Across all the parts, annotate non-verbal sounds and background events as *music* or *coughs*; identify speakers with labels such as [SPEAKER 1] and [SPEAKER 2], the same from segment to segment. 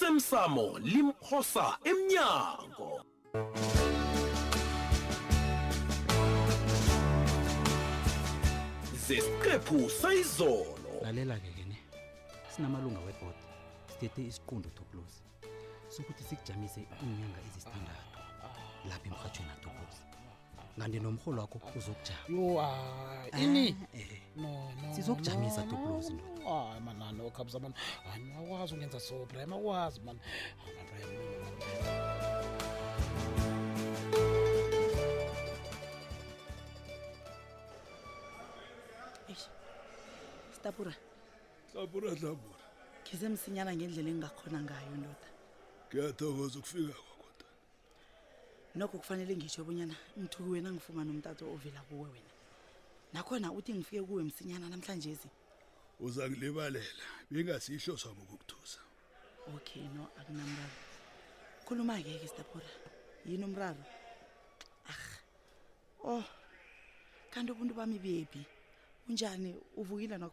[SPEAKER 1] osemsamo limphosa emnyango zesiqephu sayizolo
[SPEAKER 2] lalela-ke ke ne sinamalunga webhodi sithethe isiqundo toplos sokuthi sikujamise iinyanga ezisithandathu lapha emrhatshweni atoplos kanti nomrholo wakho uzokujama
[SPEAKER 3] yo hayi ini
[SPEAKER 2] Ah, eh.
[SPEAKER 3] no no
[SPEAKER 2] Sizokujamisa
[SPEAKER 3] no, Ah,
[SPEAKER 2] Topolozi,
[SPEAKER 3] no. hayi mani nani okhabisa mani hayi mani Ah, akwazi ungenza so brian akwazi Ah, mani hayi mani brian
[SPEAKER 4] Eish. Stapura,
[SPEAKER 5] hlapura hlapura
[SPEAKER 4] khize msinyana ngendlela engingakhona ngayo ndoda.
[SPEAKER 5] kuyathokoza ukufika kwakoda
[SPEAKER 4] Nokho kufanele ngisho obunyana mthuku wena ngifumana umtato ovela kuwe wena. Nakhona uthi ngifike kuwe msinyana namhlanje ezi.
[SPEAKER 5] uza kulibalela bengasihlo sami ukukuthusa
[SPEAKER 4] Okay no akunamraro. Khuluma ke ke Stapura. Yini umraro? Ah. Oh. Kanti ubuntu bami bephi? Unjani uvukile nok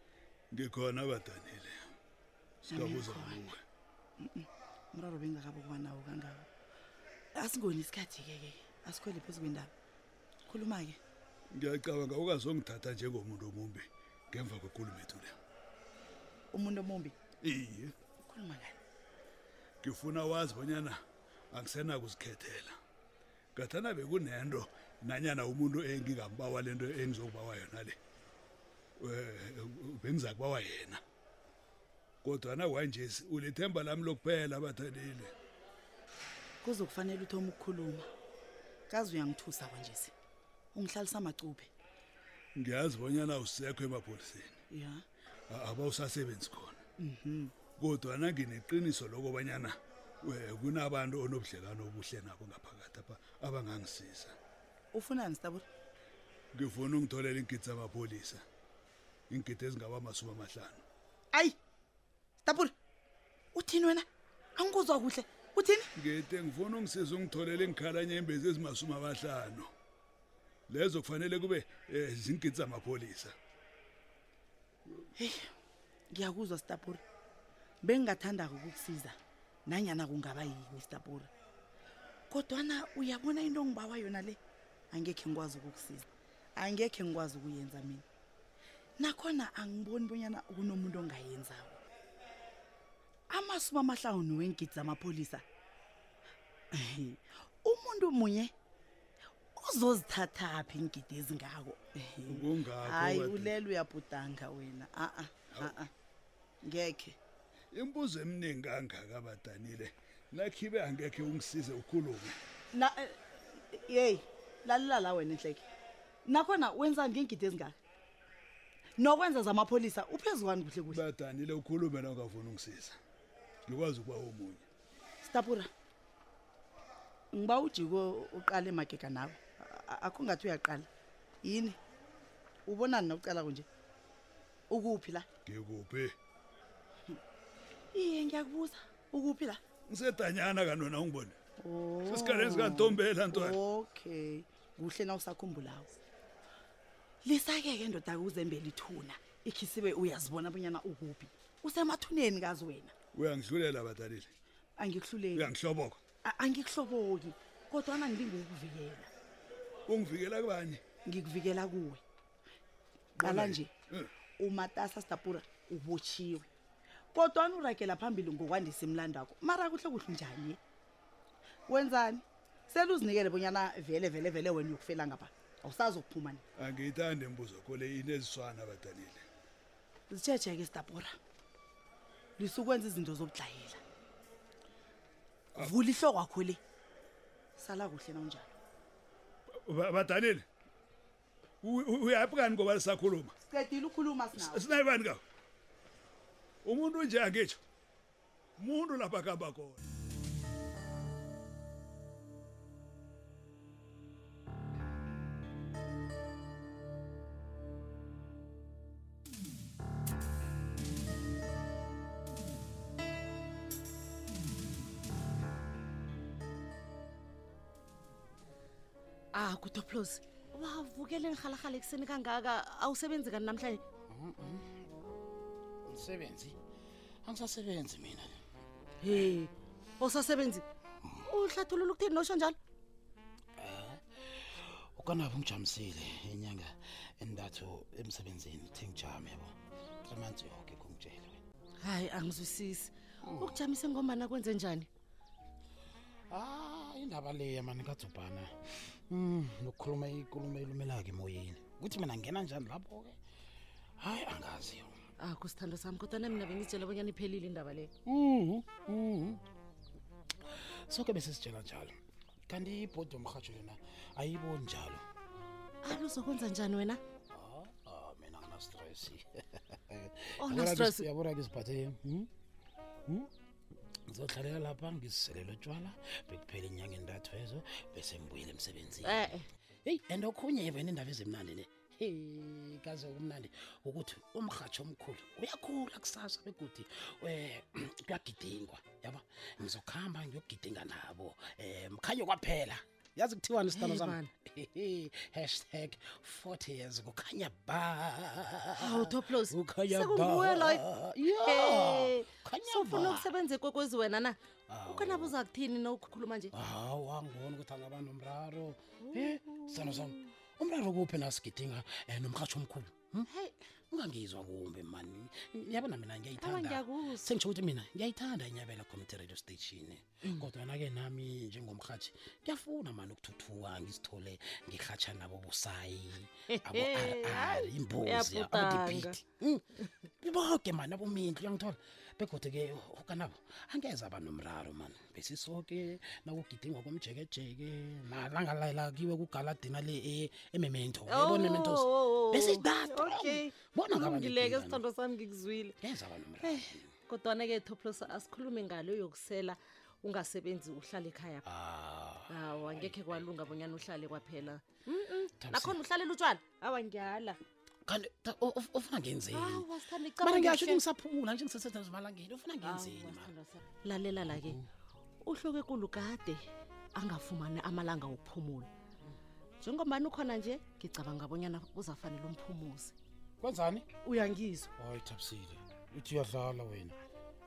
[SPEAKER 5] ngikhona badanile sikabuza
[SPEAKER 4] Nami
[SPEAKER 5] kuwe
[SPEAKER 4] umraro bengakabukuba nawo kangako. Asingoni isikhathi ke ke. Asikhole phezu kwendaba. Khuluma ke.
[SPEAKER 5] ngiyacabanga ukazongithatha njengomuntu omumbi ngemva kwenkulumo ethu le
[SPEAKER 4] umuntu omumbi
[SPEAKER 5] iye
[SPEAKER 4] ukhuluma ngani
[SPEAKER 5] ngifuna wazi bonyana angisenakuzikhethela ngathana bekunento nanyana umuntu engingambawa lento engizokubawa yona le um bengiza kubawa yena kodwana wanjesi ulithemba lami lokuphela bathanile
[SPEAKER 4] kuzokufanele uthoma ukukhuluma kazi uyangithusa kwanjesi ungihlalisa macuphe
[SPEAKER 5] ngiyazi bonyana usekho emapholiseni
[SPEAKER 4] ya
[SPEAKER 5] a- abawusasebenzi khona kodwana ngineqiniso lokobanyana um kunabantu onobudlelwano obuhle nabo ngaphakathi apha abangangisiza
[SPEAKER 4] ufunani sitabula
[SPEAKER 5] ngifuna ungitholele iingidi zamapholisa iingidi ezingaba masumi amahlanu
[SPEAKER 4] ayi sitabula uthini wena angikuzwa kuhle uthini
[SPEAKER 5] ngide ngifuna ungisiza ungitholele ingikhalanye imbezi ezimasumi amahlanu lezo kufanele kube um ziingidi zamapholisa
[SPEAKER 4] heyi ngiyakuzwa sitabula bengingathandako ukukusiza nanyana kungaba yini sitabula kodwana uyabona into ongibawa yona le angekhe ngikwazi ukukusiza angekhe ngikwazi ukuyenza mina nakhona angiboni bonyana kunomuntu ongayenzawo amasumi amahlawuni weengidi zamapholisa *laughs* Ehe, umuntu munye uzozithathaphi iingidi ezingako Ehe.
[SPEAKER 5] Kungakho
[SPEAKER 4] hayi
[SPEAKER 5] bathi-
[SPEAKER 4] ulele uyabhudanga wena a-a a-a ngekhe
[SPEAKER 5] imbuzo eminingi kangaka badanile nakhibe angekhe ungisize ukhulume
[SPEAKER 4] na eh, yeyi lalela la wena enhleke nakhona wenzani ngeengidi ezingaka nokwenza zamapholisa uphezu kwani kuhle kuhle
[SPEAKER 5] badanile ukhulume na ungafuni ungisiza ngikwazi ukuba omunye
[SPEAKER 4] stapura ngiba ujiko uqale magega nawe A- akho ngathi uyaqala yini ubonani nokucala kunje ukuphi la
[SPEAKER 5] ngikuphi
[SPEAKER 4] iye ngiyakubuza ukuphi la
[SPEAKER 5] ngisedanyana kanona ungibone
[SPEAKER 4] Oh.
[SPEAKER 5] sesikhaleni sikantombela ntwana
[SPEAKER 4] okay kuhle na usakhumbulawo lisake-ke ndoda uzembela ithuna ikhisibe uyazibona bonyana ukuphi usemathuneni kazi wena
[SPEAKER 5] uyangidlulela badanile
[SPEAKER 4] angikuhluleki
[SPEAKER 5] uyangihloboka
[SPEAKER 4] A- angikuhloboki kodwana ngilinga ukukuvikela
[SPEAKER 5] ungivikela kubani
[SPEAKER 4] ngikuvikela kuwe qala nje
[SPEAKER 5] Eh.
[SPEAKER 4] umatasa stapura ubotshiwe kodwana uragela phambili ngokwandisa imlando wakho mara kuhle kuhle njani wenzani sele uzinikele bonyana vele vele vele wena uyokufela ngapha awusazi ukuphuma ni
[SPEAKER 5] angiyithandi imbuzo kho le ineziswana badanile
[SPEAKER 4] zitshejeke stapura lisukwenza izinto zobudlayela vula ihlo kwakho le sala kuhle nawunjani
[SPEAKER 5] Ba- badanile u- u- uyaphi kani ngoba lisakhuluma
[SPEAKER 4] sicedile ukhuluma sinawe
[SPEAKER 5] sinayibani kawo umuntu nje angitsho muntu lapha kuhamba khona
[SPEAKER 6] ah kutoplos wavukele ngihalarhala ekuseni kangaka awusebenzi kani namhlanje
[SPEAKER 3] msebenzi angisasebenzi mina
[SPEAKER 4] he osasebenzi uhlathulula ukuthini nosho njalo
[SPEAKER 3] ukanabo ngijamisile inyanga endathu emsebenzini uthe ngijame yabo three months yoke kungitshela wena
[SPEAKER 4] hayi angizwisisi ukujamise ngombana kwenze njani
[SPEAKER 3] ah indaba leya mani kadzubhana um nokukhuluma ikulumo ilumelako emoyeni kuthi mina ngena njani lapho-ke hayi angazi yo
[SPEAKER 4] ah kusithando sami kodwa na mina bengitshela bonyana iphelile indaba leyo
[SPEAKER 3] Mhm, mhm. soke besisitshela njalo kanti ibhodi yomrhatsho yona ayiboni njalo
[SPEAKER 4] ali uzokwenza Ah, njani wena
[SPEAKER 3] Ah, ah, mina *laughs* nginastress
[SPEAKER 4] Awuna stress.
[SPEAKER 3] yabona ngiziphathe mhm? Mhm? ngizohlalela lapha ngiziselele utshwala bekuphela inyanga entathu ezo bese ngibuyele emsebenzini
[SPEAKER 4] e-e
[SPEAKER 3] heyi and okhunye yevena indaba ezimnandi ne Hey, kaze kumnandi ukuthi umrhatsho omkhulu uyakhula kusasa begudi um *clears throat* kuyagidingwa yaba ngizokuhamba ngiyokugidinga nabo um mkhanye kwaphela yazi kuthiwani isitalo
[SPEAKER 4] Hey,
[SPEAKER 3] sami
[SPEAKER 4] man.
[SPEAKER 3] Hehe, hashtag 40 years kukhanya ba
[SPEAKER 4] hawu toplos
[SPEAKER 3] Ukhanya
[SPEAKER 4] sekunguwe
[SPEAKER 3] ba.
[SPEAKER 4] loyo
[SPEAKER 3] Ya,
[SPEAKER 4] Hey,
[SPEAKER 3] kukhanya
[SPEAKER 4] sofuna
[SPEAKER 3] ba.
[SPEAKER 4] ukusebenza ekwekwezi wena na
[SPEAKER 3] Awu.
[SPEAKER 4] ukanabo uza kuthini nokukhuluma nje
[SPEAKER 3] hawu angiboni ukuthi angaba nomraro e sithandwa sami umraro kuphi nasigidinga um nomrhatsho omkhulu Hmm?
[SPEAKER 4] heyi
[SPEAKER 3] ungangizwa kumbi mani yabona mina
[SPEAKER 4] awa
[SPEAKER 3] ngiyayithanda
[SPEAKER 4] ngiyakuzwa
[SPEAKER 3] sengitsho ukuthi mina ngiyayithanda inyabela community radio station
[SPEAKER 4] Mm.
[SPEAKER 3] kodwana-ke nami njengomrhatshi ngiyafuna mani ukuthuthuka ngizithole ngirhatsha nabo busayi abo-rr
[SPEAKER 4] hayi,
[SPEAKER 3] imbuzi
[SPEAKER 4] uyabhudanga.
[SPEAKER 3] abodibhidi Mm. boke mani abomindlu uyangithola begode-ke okanabo angeze aba nomraro mani besisoke nakugidingwa komjekejeke nalangalakiwe kugaladina le e- ememento
[SPEAKER 4] Oh,
[SPEAKER 3] yabona mementos
[SPEAKER 4] okay
[SPEAKER 3] besitata bona
[SPEAKER 4] kulungileke sithando sami ngikuzwile
[SPEAKER 3] ngezaba nomraro
[SPEAKER 4] Eh, kodwana-ke toplos asikhulume ngalo yokusela ungasebenzi uhlale ekhaya
[SPEAKER 3] Ah,
[SPEAKER 4] hawu angekhe kwalunga bonyana uhlale kwaphela
[SPEAKER 3] Thabisile.
[SPEAKER 4] nakhona uhlalela utshwala hawa ngiyala
[SPEAKER 3] kanti ta- oh, u- uf- ufuna ngenzeni
[SPEAKER 4] hawu asithanda
[SPEAKER 3] mara ngiyasho ukuthi ngisaphula nje ngisesezimalangeni ufuna ngenzeni mara
[SPEAKER 4] lalela-ke uhloko ekulu kade angafumani amalanga wokuphumula njengobani ukhona nje ngicabanga bonyana uzafanele umphumuze
[SPEAKER 3] kwenzani
[SPEAKER 4] uyangizwa
[SPEAKER 3] hayi thabisile uthi uyadlala wena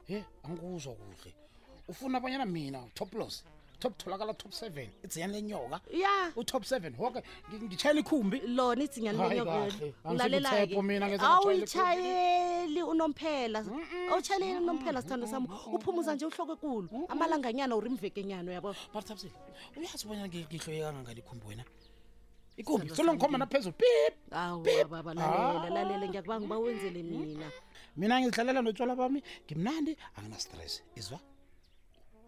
[SPEAKER 3] ye angikuzwa kuhle ufuna abanyana mina top los top tholakala top seven idziyani lenyoka
[SPEAKER 4] ya
[SPEAKER 3] utop seven hoke ngi- ngitshayela ikhumbi
[SPEAKER 4] lona idzinyani
[SPEAKER 3] Hayi, kahle.
[SPEAKER 4] lenyokelo
[SPEAKER 3] Angisikuthepho mina, ngeze ngatshayela
[SPEAKER 4] awuyitshayeli unomphela awutshayeleli unomphela sithando sami uphumuza nje uhloko ekulu amalanganyana or imvekenyana uyabo
[SPEAKER 3] mara thabisile uyazi ubonyana ngihloye kangangani ikhumbi wena ikhumbi solongikhomba naphezulu pip
[SPEAKER 4] awu baba
[SPEAKER 3] Ah.
[SPEAKER 4] lalela lalela ngiyakubanga uba wenzele mina
[SPEAKER 3] mina ngizidlalela notshwala bami ngimnandi anginastress izwa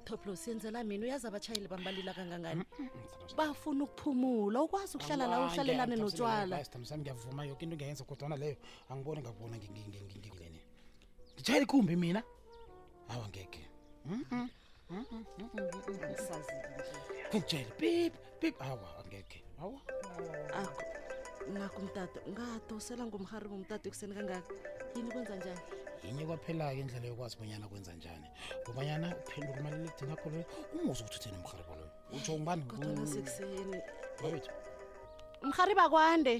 [SPEAKER 4] toplos yenzela mina uyazi abatshayeli bambalila kangangani bafuna ukuphumula ukwazi ukuhlala la uhlalelane notshwala
[SPEAKER 3] sami ngiyavuma yoke into ngiyayenza kodwana leyo angiboni ngakubona ngileni ngitshayela ikhumbi mina awa ngeke ngitshayele pip pip awa angeke awa
[SPEAKER 4] Akho, nakho umtata ungadosela ngomhari ngomtata ekuseni kangaka yini kwenza njani
[SPEAKER 3] yinye kwaphela-ke indlela yokwazi bonyana kwenza njani ngobanyana uphendula umaliledini akho loyo unguze ukuthi utheni umrhelebho loyo utsho ngubani
[SPEAKER 4] kodwa nasekuseni
[SPEAKER 3] babethu
[SPEAKER 4] mhari bakwande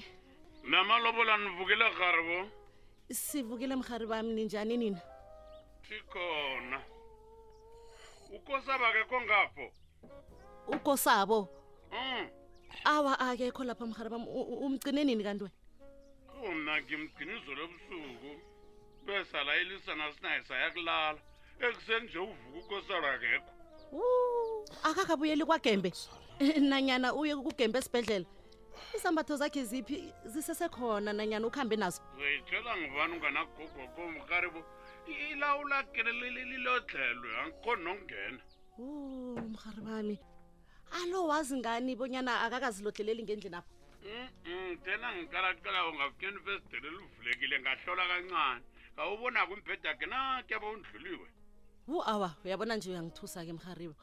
[SPEAKER 5] namalobola nivukile garibo
[SPEAKER 4] sivukile mhari bami ninjani nina
[SPEAKER 5] sikhona ukosaba ke kongapho
[SPEAKER 4] ukosabo
[SPEAKER 5] um
[SPEAKER 4] awa akekho lapha mhari bami U- u- umgcine nini kanti wena
[SPEAKER 5] khona ngimginiso lobusuku besala ilisa nasinaye sayakulala ekuseni nje uvuka ukosaba kekho
[SPEAKER 4] Wu, akakabuyeli kwagembe Eh, *laughs* nanyana uye kugembe esibhedlela izambatho zakhe ziphi zisesekhona nanyana ukuhambe nazo
[SPEAKER 5] uyitshela ngubani unganagugo komgaribo ilawulakelelililodlelwe angikhoni nokungena
[SPEAKER 4] Wu, mhari bami Oh, alo wazi ngani bonyana akakazilodleleli ngendlini apha
[SPEAKER 5] um tena ngiqalaqala ungafukeni ifesidele livulekile ngahlola kancane kawubonako imbheda akhe natyaba undluliwe
[SPEAKER 4] wu awa uyabona nje uyangithusa ke mhariba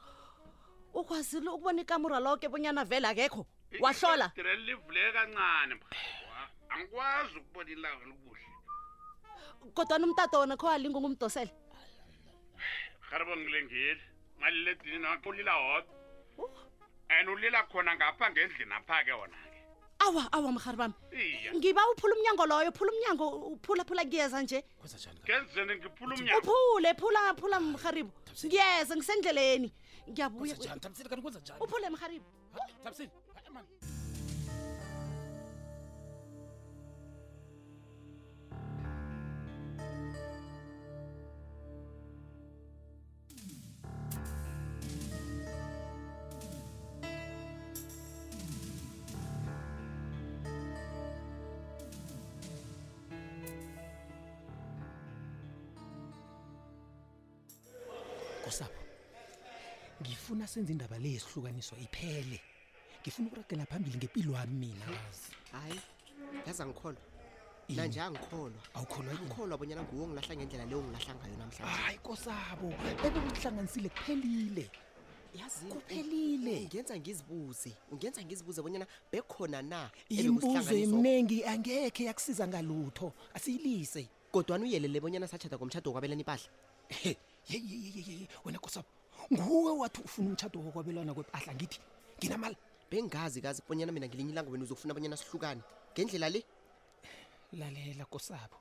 [SPEAKER 4] ukwazile ukubona ikamura loke bonyana vele akekho wahlola
[SPEAKER 5] Ifasitiri livuleke kancane baba. angikwazi ukubona ilanga likuhle
[SPEAKER 4] kodwa nomtata wona kho alinga ungumdosele
[SPEAKER 5] rharibo ngilengeli maliledinini ulila hodwa and ulila khona ngapha ngendlini apha ke wona-ke
[SPEAKER 6] awa awa mhari bami
[SPEAKER 7] iya
[SPEAKER 6] ngiba uphula umnyango loyo phula umnyango uphulaphula kuyeza nje
[SPEAKER 3] kwenza njani ka-
[SPEAKER 7] ngenzeni ngiphula umnyango
[SPEAKER 6] uphule phula phula mharibo
[SPEAKER 3] Thabisile.
[SPEAKER 6] ngiyeza ngisendleleni ngiyabuya
[SPEAKER 3] kwenza njani thabisile kanti kwenza njani
[SPEAKER 6] uphule mharibo
[SPEAKER 3] Ha, thabisile hayi mani
[SPEAKER 2] kosapho ngifuna senze indaba le yesihlukaniswa iphele ngifuna ukuragela phambili ngempilo yami mina kazi
[SPEAKER 8] hayi yaza ngikholwa nanje angikholwa
[SPEAKER 2] Awukholwa yini? Ah,
[SPEAKER 8] angikholwa bonyana nguwo ngilahla ngendlela leyo ngilahla ngayo namhlanje
[SPEAKER 2] hayi kosabo ebekuhlanganisile kuphelile
[SPEAKER 8] yazini
[SPEAKER 2] kuphelile.
[SPEAKER 8] ungenza ngizibuze ungenza ngizibuze bonyana bekhona na
[SPEAKER 2] imibuzo
[SPEAKER 8] ebekusihlanganyiswa-
[SPEAKER 2] eminingi angekhe yakusiza ngalutho asiyilise
[SPEAKER 8] kodwana uyelele bonyana satshada ngomtshado wokwabelana impahla
[SPEAKER 2] He, ye, ye, ye, ye, ye, wena kosabo nguwe wathi ufuna umtshado wokwabelwana kwepahla ngithi nginamali
[SPEAKER 8] bengazi kazi bonyana mina ngelinye ilanga wena uzokufuna bonyana sihlukane ngendlela le
[SPEAKER 2] lalela kosabo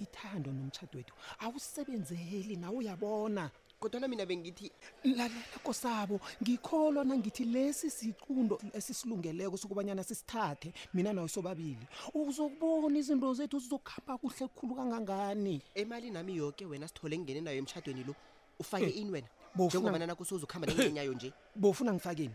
[SPEAKER 2] ithando nomtshado wethu awusebenzeli nawe uyabona
[SPEAKER 8] kodwana mina bengithi
[SPEAKER 2] lalela kosabo ngikholwa nangithi lesi siqundo esisilungeleko sokubanyana sisithathe mina nawe sobabili uzokubona izinto zethu zizokuhamba kuhle kukhulu kangangani
[SPEAKER 8] emali nami yoke wena sithole ngingene nayo emtshadweni lo ufake ini wena
[SPEAKER 2] bofuna-
[SPEAKER 8] njengobana nakusozukuhamba
[SPEAKER 2] *coughs*
[SPEAKER 8] nengenyayo nje
[SPEAKER 2] Eh, bowufuna ngifakeni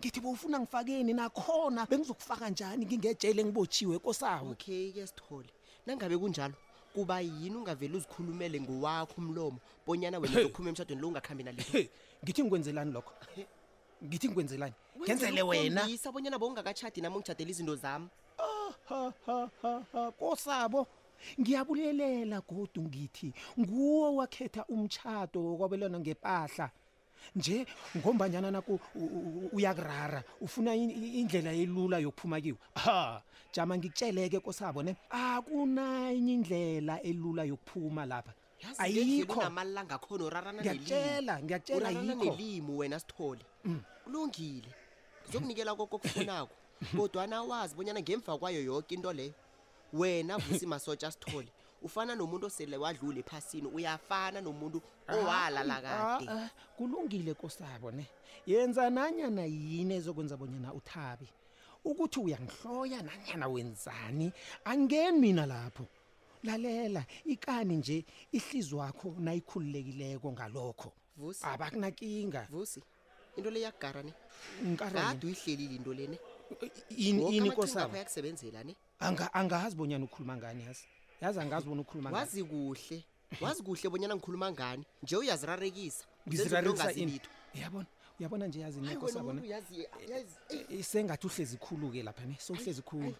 [SPEAKER 2] ngithi bowufuna ngifakeni nakhona bengizokufaka njani ngingejele ngibotshiwe kosabo
[SPEAKER 8] okay ke sithole nangabe kunjalo kuba yini ungavele uzikhulumele ngowakho umlomo bonyana
[SPEAKER 2] *coughs*
[SPEAKER 8] wena lokhuluma emshadweni lo ungakhambi nalitho
[SPEAKER 2] He, ngithi ngikwenzelani lokho ngithi ngikwenzelani ngenzele wena
[SPEAKER 8] Ngisa bonyana bowungakatshadi nami ungijadela izinto zami
[SPEAKER 2] Ha, ha, ha, ha, kosabo ngiyabulelela godu ngithi nguwo wakhetha umtshado wokwabelana ngepahla nje ngombanyana naku u- u- u- uyakurara ufuna in- i- indlela elula yokuphuma kiwo ha jama ngikutsheleke kosabo ne akunanye indlela elula yokuphuma lapha ayikho
[SPEAKER 8] unamalanga khona urarana
[SPEAKER 2] ngiyakutshela ngiyakutshela
[SPEAKER 8] urarana
[SPEAKER 2] ayikho Mm.
[SPEAKER 8] nelimi wena sithole kulungile ngizokunikela koko okufunako kodwana wazi bonyana ngemva kwayo yoke into leyo wena vusi masotsha sithole ufana nomuntu osele wadlula ephasini uyafana nomuntu owalala
[SPEAKER 2] Ah,
[SPEAKER 8] kade
[SPEAKER 2] ah, kulungile kosabo ne yenza nanyana yini ezokwenza bonyana uthabe ukuthi uyangihloya nanyana wenzani angeni mina lapho lalela ikani nje ihlizi wakho nayikhululekileko ngalokho
[SPEAKER 8] vusi
[SPEAKER 2] abakunakinga
[SPEAKER 8] vusi into le yakugara ne
[SPEAKER 2] Ngikareni.
[SPEAKER 8] kade uyihlelile into le ne
[SPEAKER 2] Yini-
[SPEAKER 8] Woke
[SPEAKER 2] yini
[SPEAKER 8] amaqhinga akho
[SPEAKER 2] kosabo
[SPEAKER 8] ayakusebenzela ne
[SPEAKER 2] Anga- angazi bonyana ukhuluma ngani yazi yazi angazi bona ukhuluma ngani
[SPEAKER 8] wazi kuhle wazi kuhle bonyana ngikhuluma ngani nje uyazirarekisa
[SPEAKER 2] ngizirarelisa ini uyabona uyabona nje yazi nekosabo ne
[SPEAKER 8] uyaziyazi
[SPEAKER 2] Eh, sengathi uhlezi khulu-ke lapha ne sowuhlezi khulu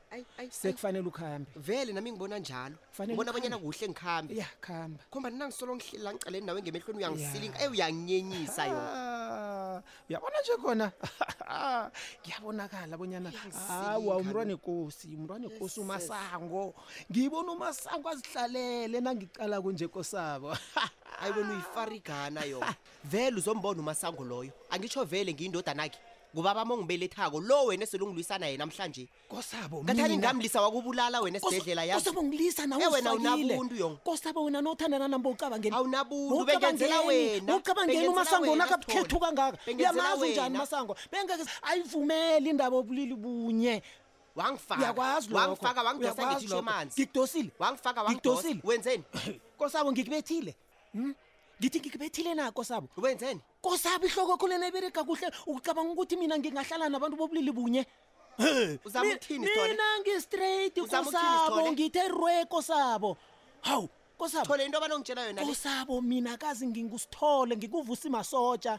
[SPEAKER 2] sekufanele ukuhambe
[SPEAKER 8] vele nami ngibona njalo
[SPEAKER 2] Kufanele
[SPEAKER 8] ngibona
[SPEAKER 2] ukhambe.
[SPEAKER 8] bonyana kuhle ngikhambe
[SPEAKER 2] ya khamba
[SPEAKER 8] khomba ninangisolo ngihlela ngiceleni nawe ngemehlweni uyangisilinga
[SPEAKER 2] Ya.
[SPEAKER 8] eyi uyanginyenyisa yona
[SPEAKER 2] Ah, uyabona nje khona *laughs* ngiyabonakala bonyana
[SPEAKER 8] Uyangisika
[SPEAKER 2] hawa
[SPEAKER 8] lo.
[SPEAKER 2] umntwana ekosi umntwana ekosi
[SPEAKER 8] Yes, yes.
[SPEAKER 2] umasango ngibona umasango azihlalele nangicala kunje kosabo *laughs*
[SPEAKER 8] ayi wena uyifarigana
[SPEAKER 2] Ah.
[SPEAKER 8] yona vele uzombona umasango loyo angitsho vele ngiyindodanakhe ngubaba ama ongibelethako lo wena eselungilwisana yena namhlanje
[SPEAKER 2] kosabo
[SPEAKER 8] ngathani
[SPEAKER 2] mina-
[SPEAKER 8] ngamlisa wakubulala wena
[SPEAKER 2] Kos-
[SPEAKER 8] esibhedlela yazi
[SPEAKER 2] kosabo ngilisa nawe
[SPEAKER 8] Eh, wena
[SPEAKER 2] uzifakile.
[SPEAKER 8] awunabuntu yong.
[SPEAKER 2] kosabo wena nothandana nami bowucabangeni
[SPEAKER 8] awunabuntu bengenzela wena
[SPEAKER 2] ucabangeni
[SPEAKER 8] Bengenzela
[SPEAKER 2] umasango
[SPEAKER 8] wena,
[SPEAKER 2] nakabukhethu
[SPEAKER 8] Sithole.
[SPEAKER 2] kangaka
[SPEAKER 8] Bengenzela
[SPEAKER 2] uyamazi unjani
[SPEAKER 8] wena.
[SPEAKER 2] masango bengeke ayivumeli indaba obulili bunye
[SPEAKER 8] wangifaka
[SPEAKER 2] uyakwazi lokho.
[SPEAKER 8] wangifaka wangidosa
[SPEAKER 2] Uyakwazi
[SPEAKER 8] ngithisho
[SPEAKER 2] lokho.
[SPEAKER 8] manzi
[SPEAKER 2] ngikudosile
[SPEAKER 8] wangifaka wangidosa
[SPEAKER 2] Ngikudosile.
[SPEAKER 8] wenzeni
[SPEAKER 2] kosabo ngikubethile Hmm? ngithi ngikubethile na kosabo
[SPEAKER 8] wenzeni
[SPEAKER 2] kosabo ihloko khona nebereka kuhle ucabanga ukuthi mina ngingahlala nabantu bobulili bunye He,
[SPEAKER 8] Uzama
[SPEAKER 2] mi-
[SPEAKER 8] ukuthini, Sithole?
[SPEAKER 2] mina ngistraight
[SPEAKER 8] Uzama ukuthini,
[SPEAKER 2] kosabo
[SPEAKER 8] Sithole?
[SPEAKER 2] ngithe rwe kosabo hawu kosabo
[SPEAKER 8] thole into abanongitshela yona le
[SPEAKER 2] kosabo mina kazi ngingusithole ngikuvusa imasotsha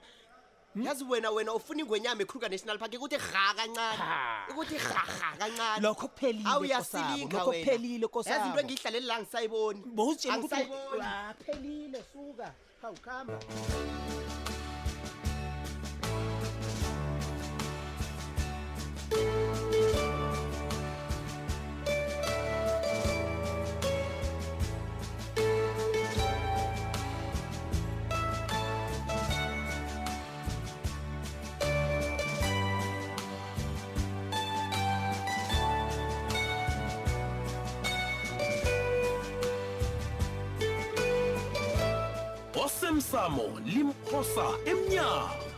[SPEAKER 2] Hmm?
[SPEAKER 8] yazi wena wena ufuna ingwenyama ekhuluka national park ukuthi rha kancane ukuthi rharha kancane
[SPEAKER 2] lokho kuphelile kosabo
[SPEAKER 8] awuyasilinga
[SPEAKER 2] lokho kuphelile
[SPEAKER 8] yazi into
[SPEAKER 2] kosabo
[SPEAKER 8] engiyihlaleli la ngisayiboni
[SPEAKER 2] bowuzitshela ukuthi
[SPEAKER 8] Angisayiboni.
[SPEAKER 2] Ah, phelile suka hawu khamba
[SPEAKER 1] emsamo limphosa emnyango